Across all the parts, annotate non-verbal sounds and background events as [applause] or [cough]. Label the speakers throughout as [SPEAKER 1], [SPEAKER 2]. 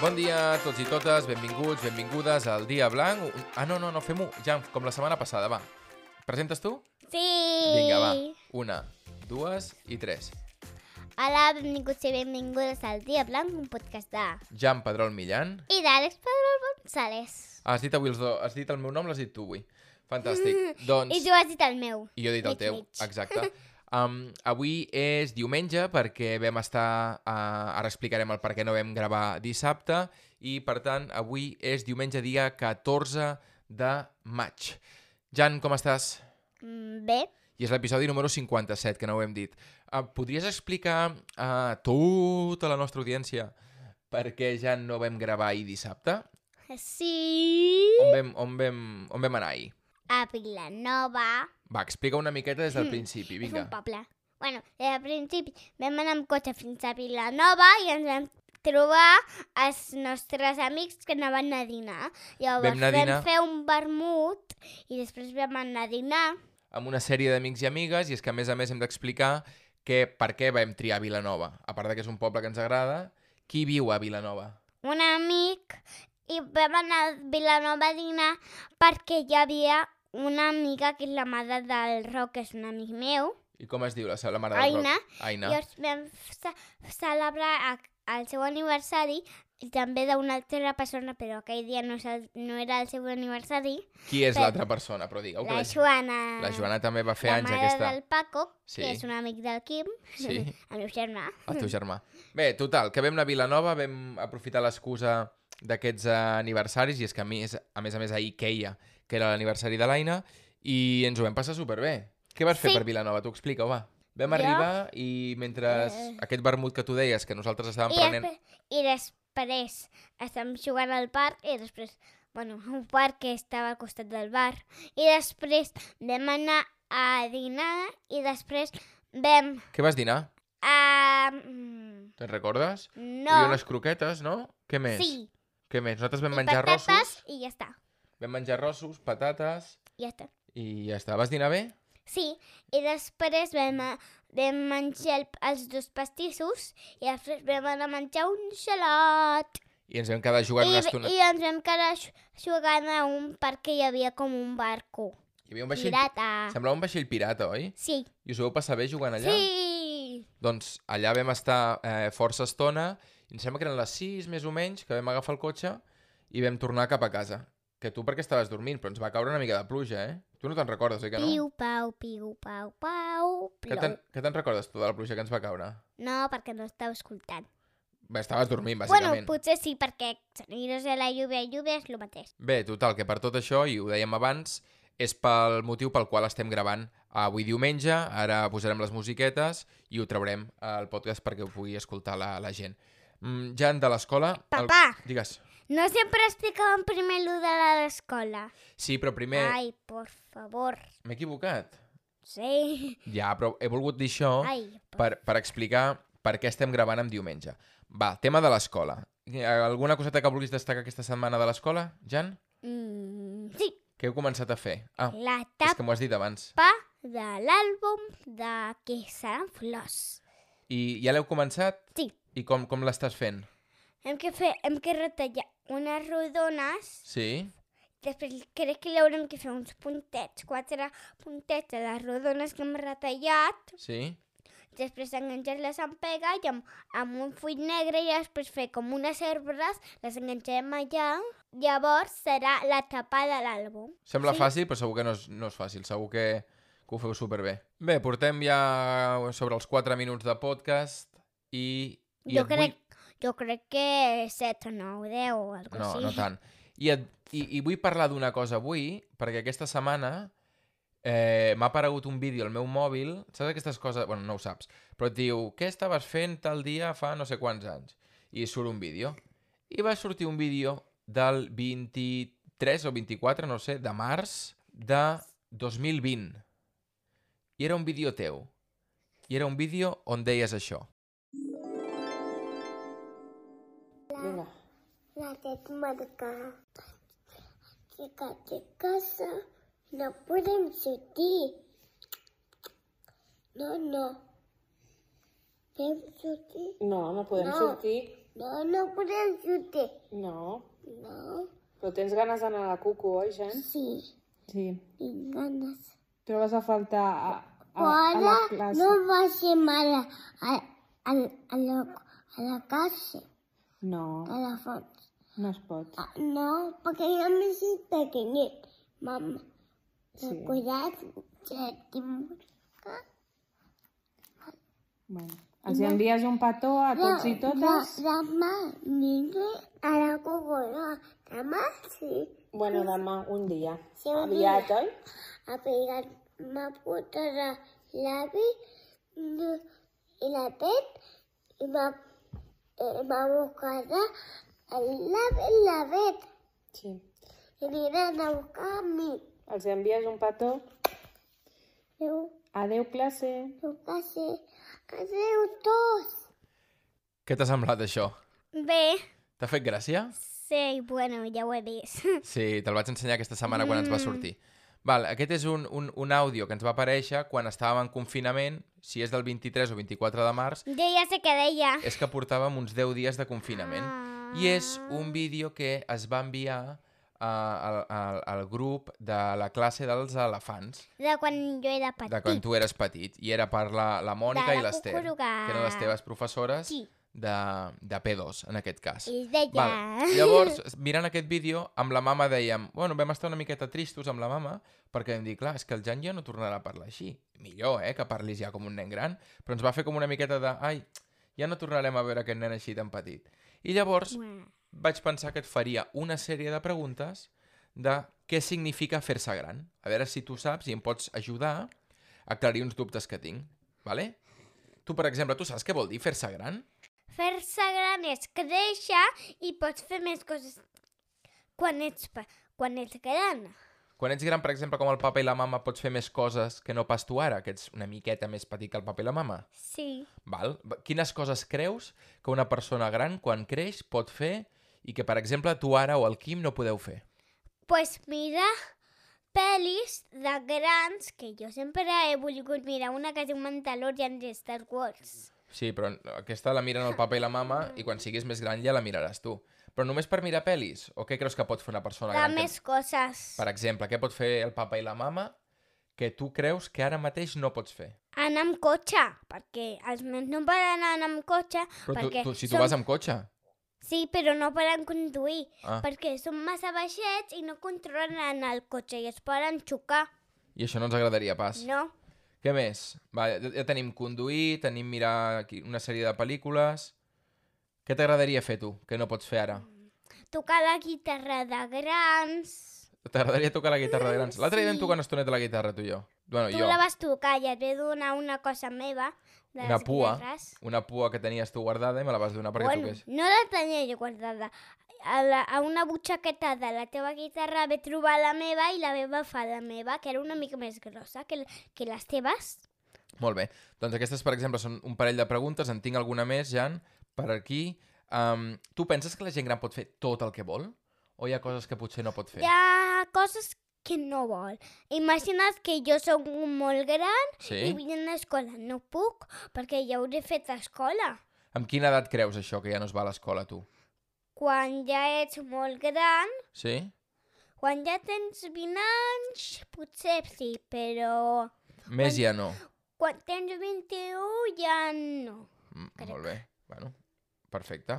[SPEAKER 1] Bon dia a tots i totes, benvinguts, benvingudes al Dia Blanc. Ah, no, no, no, fem-ho ja com la setmana passada, va. Presentes tu?
[SPEAKER 2] Sí!
[SPEAKER 1] Vinga, va. Una, dues i tres.
[SPEAKER 2] Hola, benvinguts i benvingudes al Dia Blanc, un podcast de...
[SPEAKER 1] Jan Pedrol Millan. Ah,
[SPEAKER 2] I d'Àlex Pedro González.
[SPEAKER 1] Has dit avui els dos, has dit el meu nom, l'has dit tu avui. Fantàstic. Doncs...
[SPEAKER 2] Mm. I tu has dit el meu.
[SPEAKER 1] I jo he dit el
[SPEAKER 2] Mig,
[SPEAKER 1] teu,
[SPEAKER 2] mig. [laughs]
[SPEAKER 1] exacte. Um, avui és diumenge perquè vam estar... Uh, ara explicarem el per què no vam gravar dissabte i, per tant, avui és diumenge dia 14 de maig. Jan, com estàs?
[SPEAKER 2] Mm, Bé,
[SPEAKER 1] I és l'episodi número 57, que no ho hem dit. Uh, podries explicar a tota la nostra audiència per què ja no vam gravar ahir dissabte?
[SPEAKER 2] sí...
[SPEAKER 1] On vam, on vam, on vam anar ahir?
[SPEAKER 2] A Vilanova.
[SPEAKER 1] Va, explica una miqueta des del principi,
[SPEAKER 2] Mm. És
[SPEAKER 1] vinga.
[SPEAKER 2] un poble. Bueno, des del principi vam anar amb cotxe fins a Vilanova i ens vam trobar els nostres amics que anaven a dinar. Llavors
[SPEAKER 1] Vam anar a dinar.
[SPEAKER 2] fer un vermut i després vam anar a dinar.
[SPEAKER 1] amb una sèrie d'amics i amigues i és que a més a més hem d'explicar que per què vam triar Vilanova. A part de que és un poble que ens agrada, qui viu a Vilanova?
[SPEAKER 2] un amic i vam anar a Vilanova a dinar perquè hi havia una amiga que és la mare del Roc, que és un amic meu,
[SPEAKER 1] I com es diu la, la mare del
[SPEAKER 2] Aina.
[SPEAKER 1] Roc? Aina.
[SPEAKER 2] no. llavors vam ce- celebrar a- el seu aniversari i també d'una altra persona, però aquell dia no, és el- no era el seu aniversari,
[SPEAKER 1] Qui és
[SPEAKER 2] Pep.
[SPEAKER 1] l'altra persona? Però digueu que
[SPEAKER 2] la Joana,
[SPEAKER 1] Oh, la Joana també va fer
[SPEAKER 2] la
[SPEAKER 1] anys
[SPEAKER 2] mare
[SPEAKER 1] aquesta...
[SPEAKER 2] del Paco,
[SPEAKER 1] Sí.
[SPEAKER 2] que és un amic del Quim,
[SPEAKER 1] Sí.
[SPEAKER 2] [laughs] el meu germà.
[SPEAKER 1] El teu germà. Bé, total, que vam anar a Vilanova, vam aprofitar l'excusa d'aquests eh, aniversaris, i és que a més a més, a més ahir queia, que era l'aniversari de l'Aina, i ens ho vam passar superbé. Què vas fer
[SPEAKER 2] Sí.
[SPEAKER 1] per Vilanova? T'ho explica, va. Vam
[SPEAKER 2] Jo-
[SPEAKER 1] arribar i mentre
[SPEAKER 2] Eh.
[SPEAKER 1] aquest vermut que tu deies, que nosaltres estàvem
[SPEAKER 2] I,
[SPEAKER 1] prenent...
[SPEAKER 2] després, I després estàvem jugant al parc i després, bueno, a un parc que estava al costat del bar. I després vam anar a dinar i després vam
[SPEAKER 1] Què vas dinar?
[SPEAKER 2] a... mm,
[SPEAKER 1] Te'n recordes? Hi
[SPEAKER 2] No,
[SPEAKER 1] havia unes croquetes, no? Què més?
[SPEAKER 2] sí,
[SPEAKER 1] Què més? Nosaltres vam
[SPEAKER 2] i
[SPEAKER 1] menjar
[SPEAKER 2] patates
[SPEAKER 1] rossos,
[SPEAKER 2] i ja està,
[SPEAKER 1] vam menjar rossos, patates,
[SPEAKER 2] ja està.
[SPEAKER 1] i ja està. Vas dinar bé?
[SPEAKER 2] Sí, i després vam, a- vam menjar el, els dos pastissos i després vam anar a menjar un gelat.
[SPEAKER 1] I ens vam quedar jugant
[SPEAKER 2] I,
[SPEAKER 1] una estona...
[SPEAKER 2] I ens vam quedar xu- jugant a un parc que hi havia com un barco.
[SPEAKER 1] Hi havia un vaixell...
[SPEAKER 2] Pirata.
[SPEAKER 1] Semblava un vaixell pirata, oi?
[SPEAKER 2] Sí.
[SPEAKER 1] I us ho vau passar bé jugant allà?
[SPEAKER 2] Sí.
[SPEAKER 1] Doncs allà vam estar eh, força estona, i em sembla que eren les 6 més o menys, que vam agafar el cotxe i vam tornar cap a casa. Que tu perquè estaves dormint, però ens va caure una mica de pluja, eh? Tu no te'n recordes, oi que no?
[SPEAKER 2] Piu, pau, piu, pau, pau,
[SPEAKER 1] Què
[SPEAKER 2] plou.
[SPEAKER 1] te'n què te'n recordes tu de la pluja que ens va caure?
[SPEAKER 2] No, perquè no estava escoltant.
[SPEAKER 1] Bé, estaves dormint,
[SPEAKER 2] Bueno,
[SPEAKER 1] bàsicament.
[SPEAKER 2] potser sí, perquè sonidos de la lluvia i lluvia és el mateix.
[SPEAKER 1] Bé, total, que per tot això, i ho dèiem abans, és pel motiu pel qual estem gravant avui diumenge, ara posarem les musiquetes i ho traurem al podcast perquè ho pugui escoltar la, la gent. Mm, Jan, de l'escola... el-
[SPEAKER 2] Papà.
[SPEAKER 1] Digues.
[SPEAKER 2] No sempre explicàvem primer allò de l'escola.
[SPEAKER 1] Sí, però primer...
[SPEAKER 2] Ai, por favor.
[SPEAKER 1] M'he equivocat.
[SPEAKER 2] Sí.
[SPEAKER 1] Ja, però he volgut dir això
[SPEAKER 2] Ai, por...
[SPEAKER 1] per, per explicar per què estem gravant en diumenge. Va, tema de l'escola. Eh, Alguna coseta que vulguis destacar aquesta setmana de l'escola, Jan?
[SPEAKER 2] Mm, sí,
[SPEAKER 1] Què heu començat a fer? Ah,
[SPEAKER 2] la
[SPEAKER 1] és
[SPEAKER 2] tapa
[SPEAKER 1] que m'ho has dit abans.
[SPEAKER 2] de l'àlbum de que seran flors.
[SPEAKER 1] I ja l'heu començat?
[SPEAKER 2] Sí.
[SPEAKER 1] I com, com l'estàs fent?
[SPEAKER 2] Hem que, fer, hem que retallar unes rodones
[SPEAKER 1] Sí?
[SPEAKER 2] Després crec que li haurem que fer uns puntets, quatre puntets a les rodones que hem retallat,
[SPEAKER 1] Sí?
[SPEAKER 2] després enganxar-les amb pega i amb, amb un full negre i després fer com unes herbres, les enganxarem allà, llavors serà la tapa de l'àlbum.
[SPEAKER 1] Sembla
[SPEAKER 2] Sí.
[SPEAKER 1] sí. fàcil, però segur que no és, no és fàcil. Segur que, que ho feu superbé. Bé, portem ja sobre els 4 minuts de podcast i... i
[SPEAKER 2] Jo
[SPEAKER 1] et
[SPEAKER 2] crec, jo crec que 7 o 9, 10 o alguna
[SPEAKER 1] No,
[SPEAKER 2] cosa
[SPEAKER 1] no tant. I, et, i, i vull parlar d'una cosa avui, perquè aquesta setmana eh, m'ha aparegut un vídeo al meu mòbil, saps aquestes coses... Bueno, no ho saps, però et diu què estaves fent tal dia fa no sé quants anys? I surt un vídeo. I va sortir un vídeo del 23 o 24, no ho sé, de març de 2020. I era un vídeo teu. I era un vídeo on deies això.
[SPEAKER 3] Vinga. La teta marca. Ficat de casa, no podem sortir. No, no. Podem sortir?
[SPEAKER 4] No, no podem
[SPEAKER 3] No.
[SPEAKER 4] sortir
[SPEAKER 3] No, no podem sortir.
[SPEAKER 4] No.
[SPEAKER 3] No,
[SPEAKER 4] Però tens ganes d'anar a la cucu, oi, Jan?
[SPEAKER 3] sí,
[SPEAKER 4] Sí.
[SPEAKER 3] tinc ganes.
[SPEAKER 4] Trobes a faltar a, a, a
[SPEAKER 3] Ara
[SPEAKER 4] la classe.
[SPEAKER 3] no va ser mal a, a, a, a, la, a la classe,
[SPEAKER 4] no,
[SPEAKER 3] a la fons.
[SPEAKER 4] no es pot.
[SPEAKER 3] Ah, no, perquè jo m'he sigut pequeñet, mamà. Sí.
[SPEAKER 4] Sí.
[SPEAKER 3] Cuidat, que tinc... Ah,
[SPEAKER 4] Bueno. Els hi envies un petó a tots i totes?
[SPEAKER 3] De, demà aniré a la cocola. Demà sí.
[SPEAKER 4] Bueno, demà, un dia.
[SPEAKER 3] Sí, un
[SPEAKER 4] Aviat,
[SPEAKER 3] dia.
[SPEAKER 4] oi?
[SPEAKER 3] A pegar m'ha portat l'avi no, i la pet i m'ha eh, m'ha buscat l'avi i la pet.
[SPEAKER 4] Sí.
[SPEAKER 3] I aniran a buscar a mi.
[SPEAKER 4] Els hi envies un petó?
[SPEAKER 3] Diu,
[SPEAKER 4] Adeu, classe.
[SPEAKER 3] diu que sí. Adéu tots.
[SPEAKER 1] Què t'ha semblat, això?
[SPEAKER 2] Bé,
[SPEAKER 1] T'ha fet gràcia?
[SPEAKER 2] sí, bueno, ja ho he vist. [laughs]
[SPEAKER 1] Sí, te'l vaig ensenyar aquesta setmana quan
[SPEAKER 2] Mm.
[SPEAKER 1] ens va sortir. Val, aquest és un, un, un àudio que ens va aparèixer quan estàvem en confinament, si és del 23 o 24 de març,
[SPEAKER 2] Jo ja sé què deia.
[SPEAKER 1] és que portàvem uns 10 dies de confinament.
[SPEAKER 2] Ah.
[SPEAKER 1] I és un vídeo que es va enviar a, al, al, al grup de la classe dels elefants,
[SPEAKER 2] De quan jo era petit.
[SPEAKER 1] de quan tu eres petit, i era per la, la Mònica
[SPEAKER 2] De
[SPEAKER 1] i
[SPEAKER 2] la
[SPEAKER 1] l'Ester, que
[SPEAKER 2] Cucuruga.
[SPEAKER 1] eren les teves professores
[SPEAKER 2] Sí.
[SPEAKER 1] de, de P2, en aquest cas.
[SPEAKER 2] I es deia...
[SPEAKER 1] Vale. Llavors, mirant aquest vídeo, amb la mama dèiem... Bueno, vam estar una miqueta tristos amb la mama perquè vam dir, clar, és que el Jan ja no tornarà a parlar així. Millor, eh?, que parlis ja com un nen gran. Però ens va fer com una miqueta de... Ai, ja no tornarem a veure aquest nen així tan petit. I llavors
[SPEAKER 2] Uah.
[SPEAKER 1] vaig pensar que et faria una sèrie de preguntes de què significa fer-se gran. A veure si tu saps i em pots ajudar a aclarir uns dubtes que tinc, vale? Tu, per exemple, tu saps què vol dir fer-se gran?
[SPEAKER 2] Fer-se gran és créixer i pots fer més coses quan ets, pe- quan ets gran.
[SPEAKER 1] Quan ets gran, per exemple, com el papa i la mama, pots fer més coses que no pas tu ara, que ets una miqueta més petit que el papa i la mama.
[SPEAKER 2] Sí.
[SPEAKER 1] Val? B- Quines coses creus que una persona gran, quan creix, pot fer i que, per exemple, tu ara o el Quim no podeu fer?
[SPEAKER 2] Pues mira pel·lis de grans que jo sempre he volgut mirar una que es diu Mandalorian de Star Wars.
[SPEAKER 1] Sí, però aquesta la miren el papa i la
[SPEAKER 2] [laughs]
[SPEAKER 1] mama i quan siguis més gran ja la miraràs tu. Però només per mirar pel·lis? O què creus que pot fer una persona
[SPEAKER 2] De
[SPEAKER 1] gran? que-
[SPEAKER 2] més coses.
[SPEAKER 1] Per exemple, què pot fer el papa i la mama que tu creus que ara mateix no pots fer?
[SPEAKER 2] Anar amb cotxe, perquè els meus no poden anar amb cotxe.
[SPEAKER 1] Però tu,
[SPEAKER 2] perquè
[SPEAKER 1] tu, si tu
[SPEAKER 2] són-
[SPEAKER 1] vas amb cotxe...
[SPEAKER 2] Sí, però no poden conduir,
[SPEAKER 1] Ah.
[SPEAKER 2] perquè són massa baixets i no controlen el cotxe i es poden xocar,
[SPEAKER 1] I això no ens agradaria pas.
[SPEAKER 2] no?
[SPEAKER 1] Què més? Va, ja, ja tenim conduir, tenim mirar aquí una sèrie de pel·lícules... Què t'agradaria fer tu, que no pots fer ara?
[SPEAKER 2] tocar la guitarra de grans.
[SPEAKER 1] T'agradaria tocar la guitarra de grans? L'altre dia vam
[SPEAKER 2] sí.
[SPEAKER 1] tocar una estoneta la guitarra, tu i jo. Bueno,
[SPEAKER 2] Tu
[SPEAKER 1] jo.
[SPEAKER 2] la vas tocar i et ve donar una cosa meva. De
[SPEAKER 1] Una
[SPEAKER 2] les
[SPEAKER 1] pua,
[SPEAKER 2] guitarres.
[SPEAKER 1] una pua que tenies tu guardada i me la vas donar perquè
[SPEAKER 2] bueno,
[SPEAKER 1] toqués.
[SPEAKER 2] no la tenia jo guardada. A, la, a una butxaqueta de la teva guitarra ve trobar la meva i la meva fa la meva, que era una mica més grossa que, l- que les teves.
[SPEAKER 1] Molt bé. Doncs aquestes, per exemple, són un parell de preguntes. En tinc alguna més, Jan, per aquí. Um, tu penses que la gent gran pot fer tot el que vol? O hi ha coses que potser no pot fer?
[SPEAKER 2] Hi ha coses que no vol. Imagina't que jo sóc un molt gran i
[SPEAKER 1] Sí?
[SPEAKER 2] vull anar a escola. No puc, perquè ja hauré fet escola.
[SPEAKER 1] Amb quina edat creus això, que ja no es va a l'escola, tu?
[SPEAKER 2] Quan ja ets molt gran,
[SPEAKER 1] Sí?
[SPEAKER 2] Quan ja tens 20 anys, potser sí, però
[SPEAKER 1] Més ja no.
[SPEAKER 2] quan tens 21 ja no.
[SPEAKER 1] Mm,
[SPEAKER 2] Crec.
[SPEAKER 1] Molt bé, bueno, perfecte.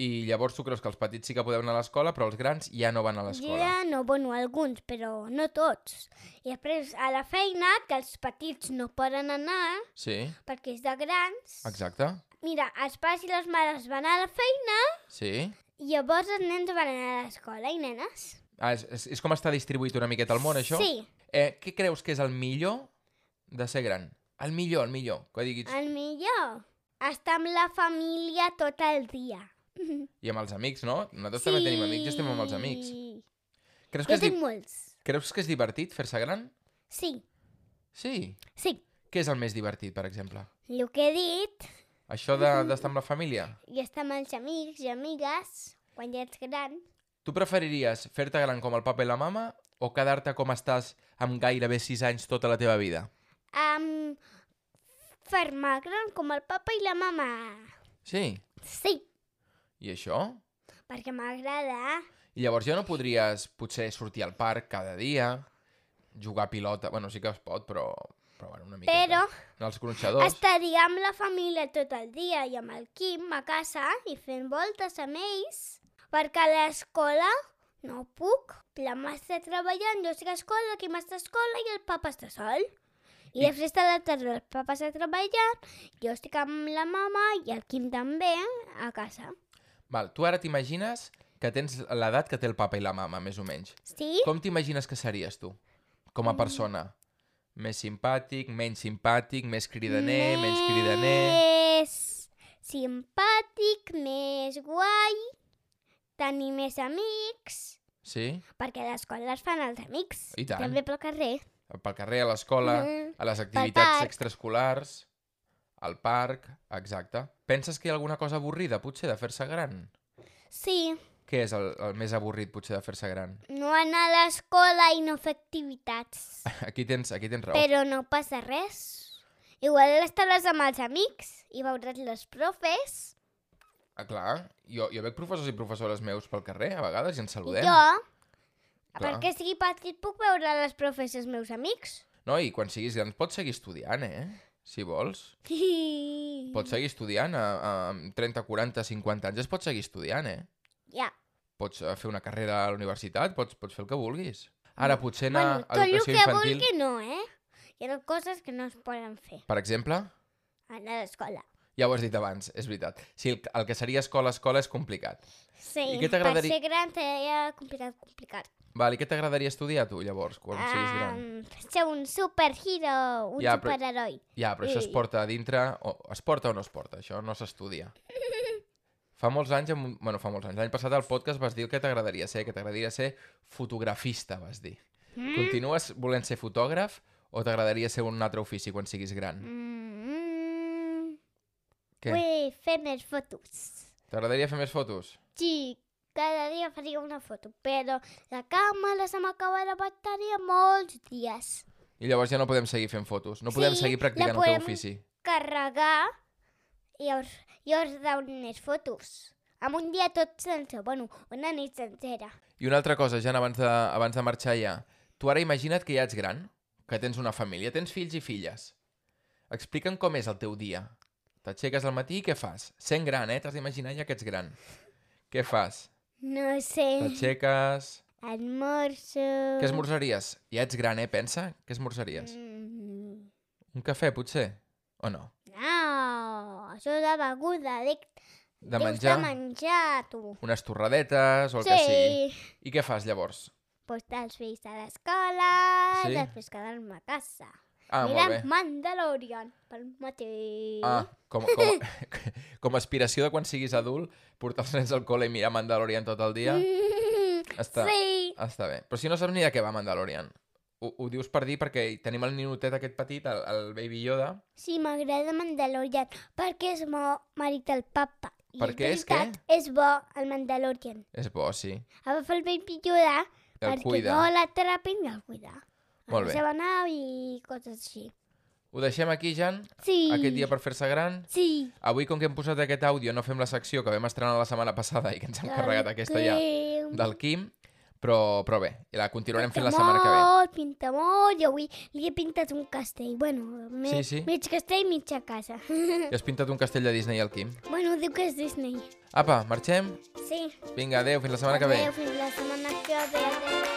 [SPEAKER 1] I llavors tu creus que els petits sí que podeu anar a l'escola, però els grans ja no van a l'escola.
[SPEAKER 2] Ja no, bueno, alguns, però no tots. I després a la feina, que els petits no poden anar
[SPEAKER 1] Sí,
[SPEAKER 2] perquè és de grans.
[SPEAKER 1] exacte.
[SPEAKER 2] Mira, els pares i les mares van a la feina
[SPEAKER 1] Sí.
[SPEAKER 2] i llavors els nens van anar a l'escola i nenes.
[SPEAKER 1] Ah, és, és, és com està distribuït una miqueta al món, això?
[SPEAKER 2] Sí,
[SPEAKER 1] Eh, què creus que és el millor de ser gran? El millor, el millor, que diguis...
[SPEAKER 2] el millor. Estar amb la família tot el dia.
[SPEAKER 1] I amb els amics, no? Nosaltres també tenim amics i estem amb els amics.
[SPEAKER 2] Sí.
[SPEAKER 1] Creus que,
[SPEAKER 2] Jo
[SPEAKER 1] és di...
[SPEAKER 2] tinc molts.
[SPEAKER 1] creus que és divertit fer-se gran?
[SPEAKER 2] Sí,
[SPEAKER 1] Sí.
[SPEAKER 2] sí.
[SPEAKER 1] Què és el més divertit, per exemple?
[SPEAKER 2] El que he dit,
[SPEAKER 1] Això de-
[SPEAKER 2] Mm.
[SPEAKER 1] d'estar amb la família?
[SPEAKER 2] i estar amb els amics i amigues, quan ja ets gran,
[SPEAKER 1] Tu preferiries fer-te gran com el papa i la mama o quedar-te com estàs amb gairebé 6 anys tota la teva vida?
[SPEAKER 2] um, fer-me gran com el papa i la mama.
[SPEAKER 1] Sí.
[SPEAKER 2] Sí,
[SPEAKER 1] I això?
[SPEAKER 2] perquè m'agrada.
[SPEAKER 1] I llavors ja no podries potser sortir al parc cada dia, jugar a pilota... Bueno, sí que es pot, però... Però bueno, una miqueta.
[SPEAKER 2] Però
[SPEAKER 1] En els gronxadors.
[SPEAKER 2] estaria amb la família tot el dia i amb el Quim a casa i fent voltes amb ells perquè a l'escola no puc. La mà està treballant, jo estic a escola, el Quim està a escola i el papa està sol. I,
[SPEAKER 1] I-
[SPEAKER 2] després de la tarda el papa està treballant, jo estic amb la mama i el Quim també a casa.
[SPEAKER 1] Val, tu ara t'imagines que tens l'edat que té el papa i la mama, més o menys.
[SPEAKER 2] Sí?
[SPEAKER 1] Com t'imagines que series tu, com a persona? Més simpàtic, menys simpàtic, més cridaner, menys cridaner...
[SPEAKER 2] Més simpàtic, més guai, tenir més amics,
[SPEAKER 1] Sí?
[SPEAKER 2] perquè a l'escola es fan els amics.
[SPEAKER 1] I tant.
[SPEAKER 2] També pel carrer.
[SPEAKER 1] Pel carrer, a l'escola,
[SPEAKER 2] Mhm.
[SPEAKER 1] a les activitats
[SPEAKER 2] parc.
[SPEAKER 1] extraescolars, al parc, exacte. Penses que hi ha alguna cosa avorrida, potser, de fer-se gran?
[SPEAKER 2] Sí,
[SPEAKER 1] Què és el, el més avorrit, potser, de fer-se gran? [laughs]
[SPEAKER 2] no anar a l'escola i no fer activitats.
[SPEAKER 1] Aquí tens, aquí tens raó.
[SPEAKER 2] Però no passa res. Igual estaràs amb els amics i veuràs les profes.
[SPEAKER 1] Ah, clar, jo, jo veig professors i professores meus pel carrer, a vegades, i ens saludem.
[SPEAKER 2] I jo,
[SPEAKER 1] Clar.
[SPEAKER 2] perquè sigui petit, puc veure les profes i els meus amics. [laughs]
[SPEAKER 1] No, i quan siguis gran pots seguir estudiant, eh? Si vols. Pots seguir estudiant a, a amb 30, 40, 50 anys. Es pot seguir estudiant, eh?
[SPEAKER 2] Ja.
[SPEAKER 1] Pots eh, fer una carrera a la universitat, pots, pots fer el que vulguis. Ara, potser anar
[SPEAKER 2] Mm. Bueno,
[SPEAKER 1] a
[SPEAKER 2] tot el
[SPEAKER 1] educació
[SPEAKER 2] que
[SPEAKER 1] infantil...
[SPEAKER 2] vulgui no, eh? Hi ha coses que no es poden fer
[SPEAKER 1] Per exemple,
[SPEAKER 2] anar a l'escola.
[SPEAKER 1] ja ho has dit abans, és veritat. Sí, el, el que seria escola-escola és complicat.
[SPEAKER 2] Sí,
[SPEAKER 1] què t'agradaria-
[SPEAKER 2] per ser gran seria complicat, complicat.
[SPEAKER 1] Val, i què t'agradaria estudiar, tu, llavors, quan
[SPEAKER 2] Ah,
[SPEAKER 1] siguis gran?
[SPEAKER 2] Am, ser un superhero, un
[SPEAKER 1] Ja, però-
[SPEAKER 2] superheroi.
[SPEAKER 1] Ja, però això es
[SPEAKER 2] i-
[SPEAKER 1] porta a dintre... O, es porta o no es porta? Això no
[SPEAKER 2] [laughs]
[SPEAKER 1] s'estudia. Fa molts anys... Amb... un- Bueno, fa molts anys. L'any passat al podcast vas dir el que t'agradaria ser, que t'agradaria ser fotografista, vas dir. Mm. Continues volent ser fotògraf o t'agradaria ser un altre ofici quan siguis gran? Mm.
[SPEAKER 2] Mm,
[SPEAKER 1] Què?
[SPEAKER 2] vull fer més fotos.
[SPEAKER 1] T'agradaria fer més fotos?
[SPEAKER 2] Sí, cada dia faria una foto, però la càmera se m'acaba de bateria molts dies.
[SPEAKER 1] I llavors ja no podem seguir fent fotos. No podem
[SPEAKER 2] Sí,
[SPEAKER 1] seguir
[SPEAKER 2] la
[SPEAKER 1] practicant el
[SPEAKER 2] podem-
[SPEAKER 1] teu ofici.
[SPEAKER 2] Carregar i us, i us dones fotos. Amb un dia tot sencer, bueno, una nit sencera.
[SPEAKER 1] I una altra cosa, Jan, abans de, abans de marxar ja. Tu ara imagina't que ja ets gran, que tens una família, tens fills i filles. Explica'm com és el teu dia. T'aixeques al matí i què fas? Sent gran, eh? T'has d'imaginar ja que ets gran. Què fas?
[SPEAKER 2] No sé,
[SPEAKER 1] T'aixeques...
[SPEAKER 2] almorzo...
[SPEAKER 1] Què esmorzaries? Ja ets gran, eh? Pensa. Què esmorzaries?
[SPEAKER 2] Mm,
[SPEAKER 1] Un cafè, potser? O no?
[SPEAKER 2] No, això de beguda, dic...
[SPEAKER 1] De
[SPEAKER 2] dius
[SPEAKER 1] menjar?
[SPEAKER 2] de menjar, tu.
[SPEAKER 1] Unes torradetes o el que sigui.
[SPEAKER 2] Sí,
[SPEAKER 1] I què fas, llavors?
[SPEAKER 2] portar els fills a l'escola,
[SPEAKER 1] Sí.
[SPEAKER 2] després quedar-me a casa.
[SPEAKER 1] Ah, molt bé.
[SPEAKER 2] Mirant Mandalorian pel matí.
[SPEAKER 1] Ah, com, com, [laughs] com a aspiració de quan siguis adult, portar els nens al col·le i mirar Mandalorian tot el dia...
[SPEAKER 2] Mm,
[SPEAKER 1] Està,
[SPEAKER 2] Sí.
[SPEAKER 1] està bé. Però si no saps ni de què va Mandalorian. Ho, ho dius per dir perquè hi tenim el ninotet aquest petit, el, el Baby Yoda.
[SPEAKER 2] Sí, m'agrada Mandalorian perquè és bo marit del papa. I
[SPEAKER 1] Perquè és
[SPEAKER 2] veritat, És bo el Mandalorian.
[SPEAKER 1] És bo, sí.
[SPEAKER 2] Agafa el Baby Yoda
[SPEAKER 1] El
[SPEAKER 2] perquè
[SPEAKER 1] cuida.
[SPEAKER 2] no l'atrapin i el cuida. A
[SPEAKER 1] Molt
[SPEAKER 2] la
[SPEAKER 1] bé.
[SPEAKER 2] seva nau i coses així.
[SPEAKER 1] Ho deixem aquí, Jan,
[SPEAKER 2] Sí.
[SPEAKER 1] aquest dia per fer-se gran.
[SPEAKER 2] Sí.
[SPEAKER 1] Avui, com que hem posat aquest àudio, no fem la secció que vam estrenar la setmana passada i que ens hem carregat aquesta ja
[SPEAKER 2] Del
[SPEAKER 1] del Quim, però, però bé, la continuarem fent la
[SPEAKER 2] Pinta
[SPEAKER 1] setmana que ve.
[SPEAKER 2] molt, Pinta molt, i avui li he pintat un castell. Bueno, me,
[SPEAKER 1] Sí, sí.
[SPEAKER 2] mig castell, mitja casa. [laughs]
[SPEAKER 1] I has pintat un castell de Disney al Quim.
[SPEAKER 2] bueno, diu que és Disney.
[SPEAKER 1] Apa, marxem?
[SPEAKER 2] Sí.
[SPEAKER 1] Vinga, adeu, fins la setmana que ve.
[SPEAKER 2] Adéu, fins la setmana que ve. Adéu.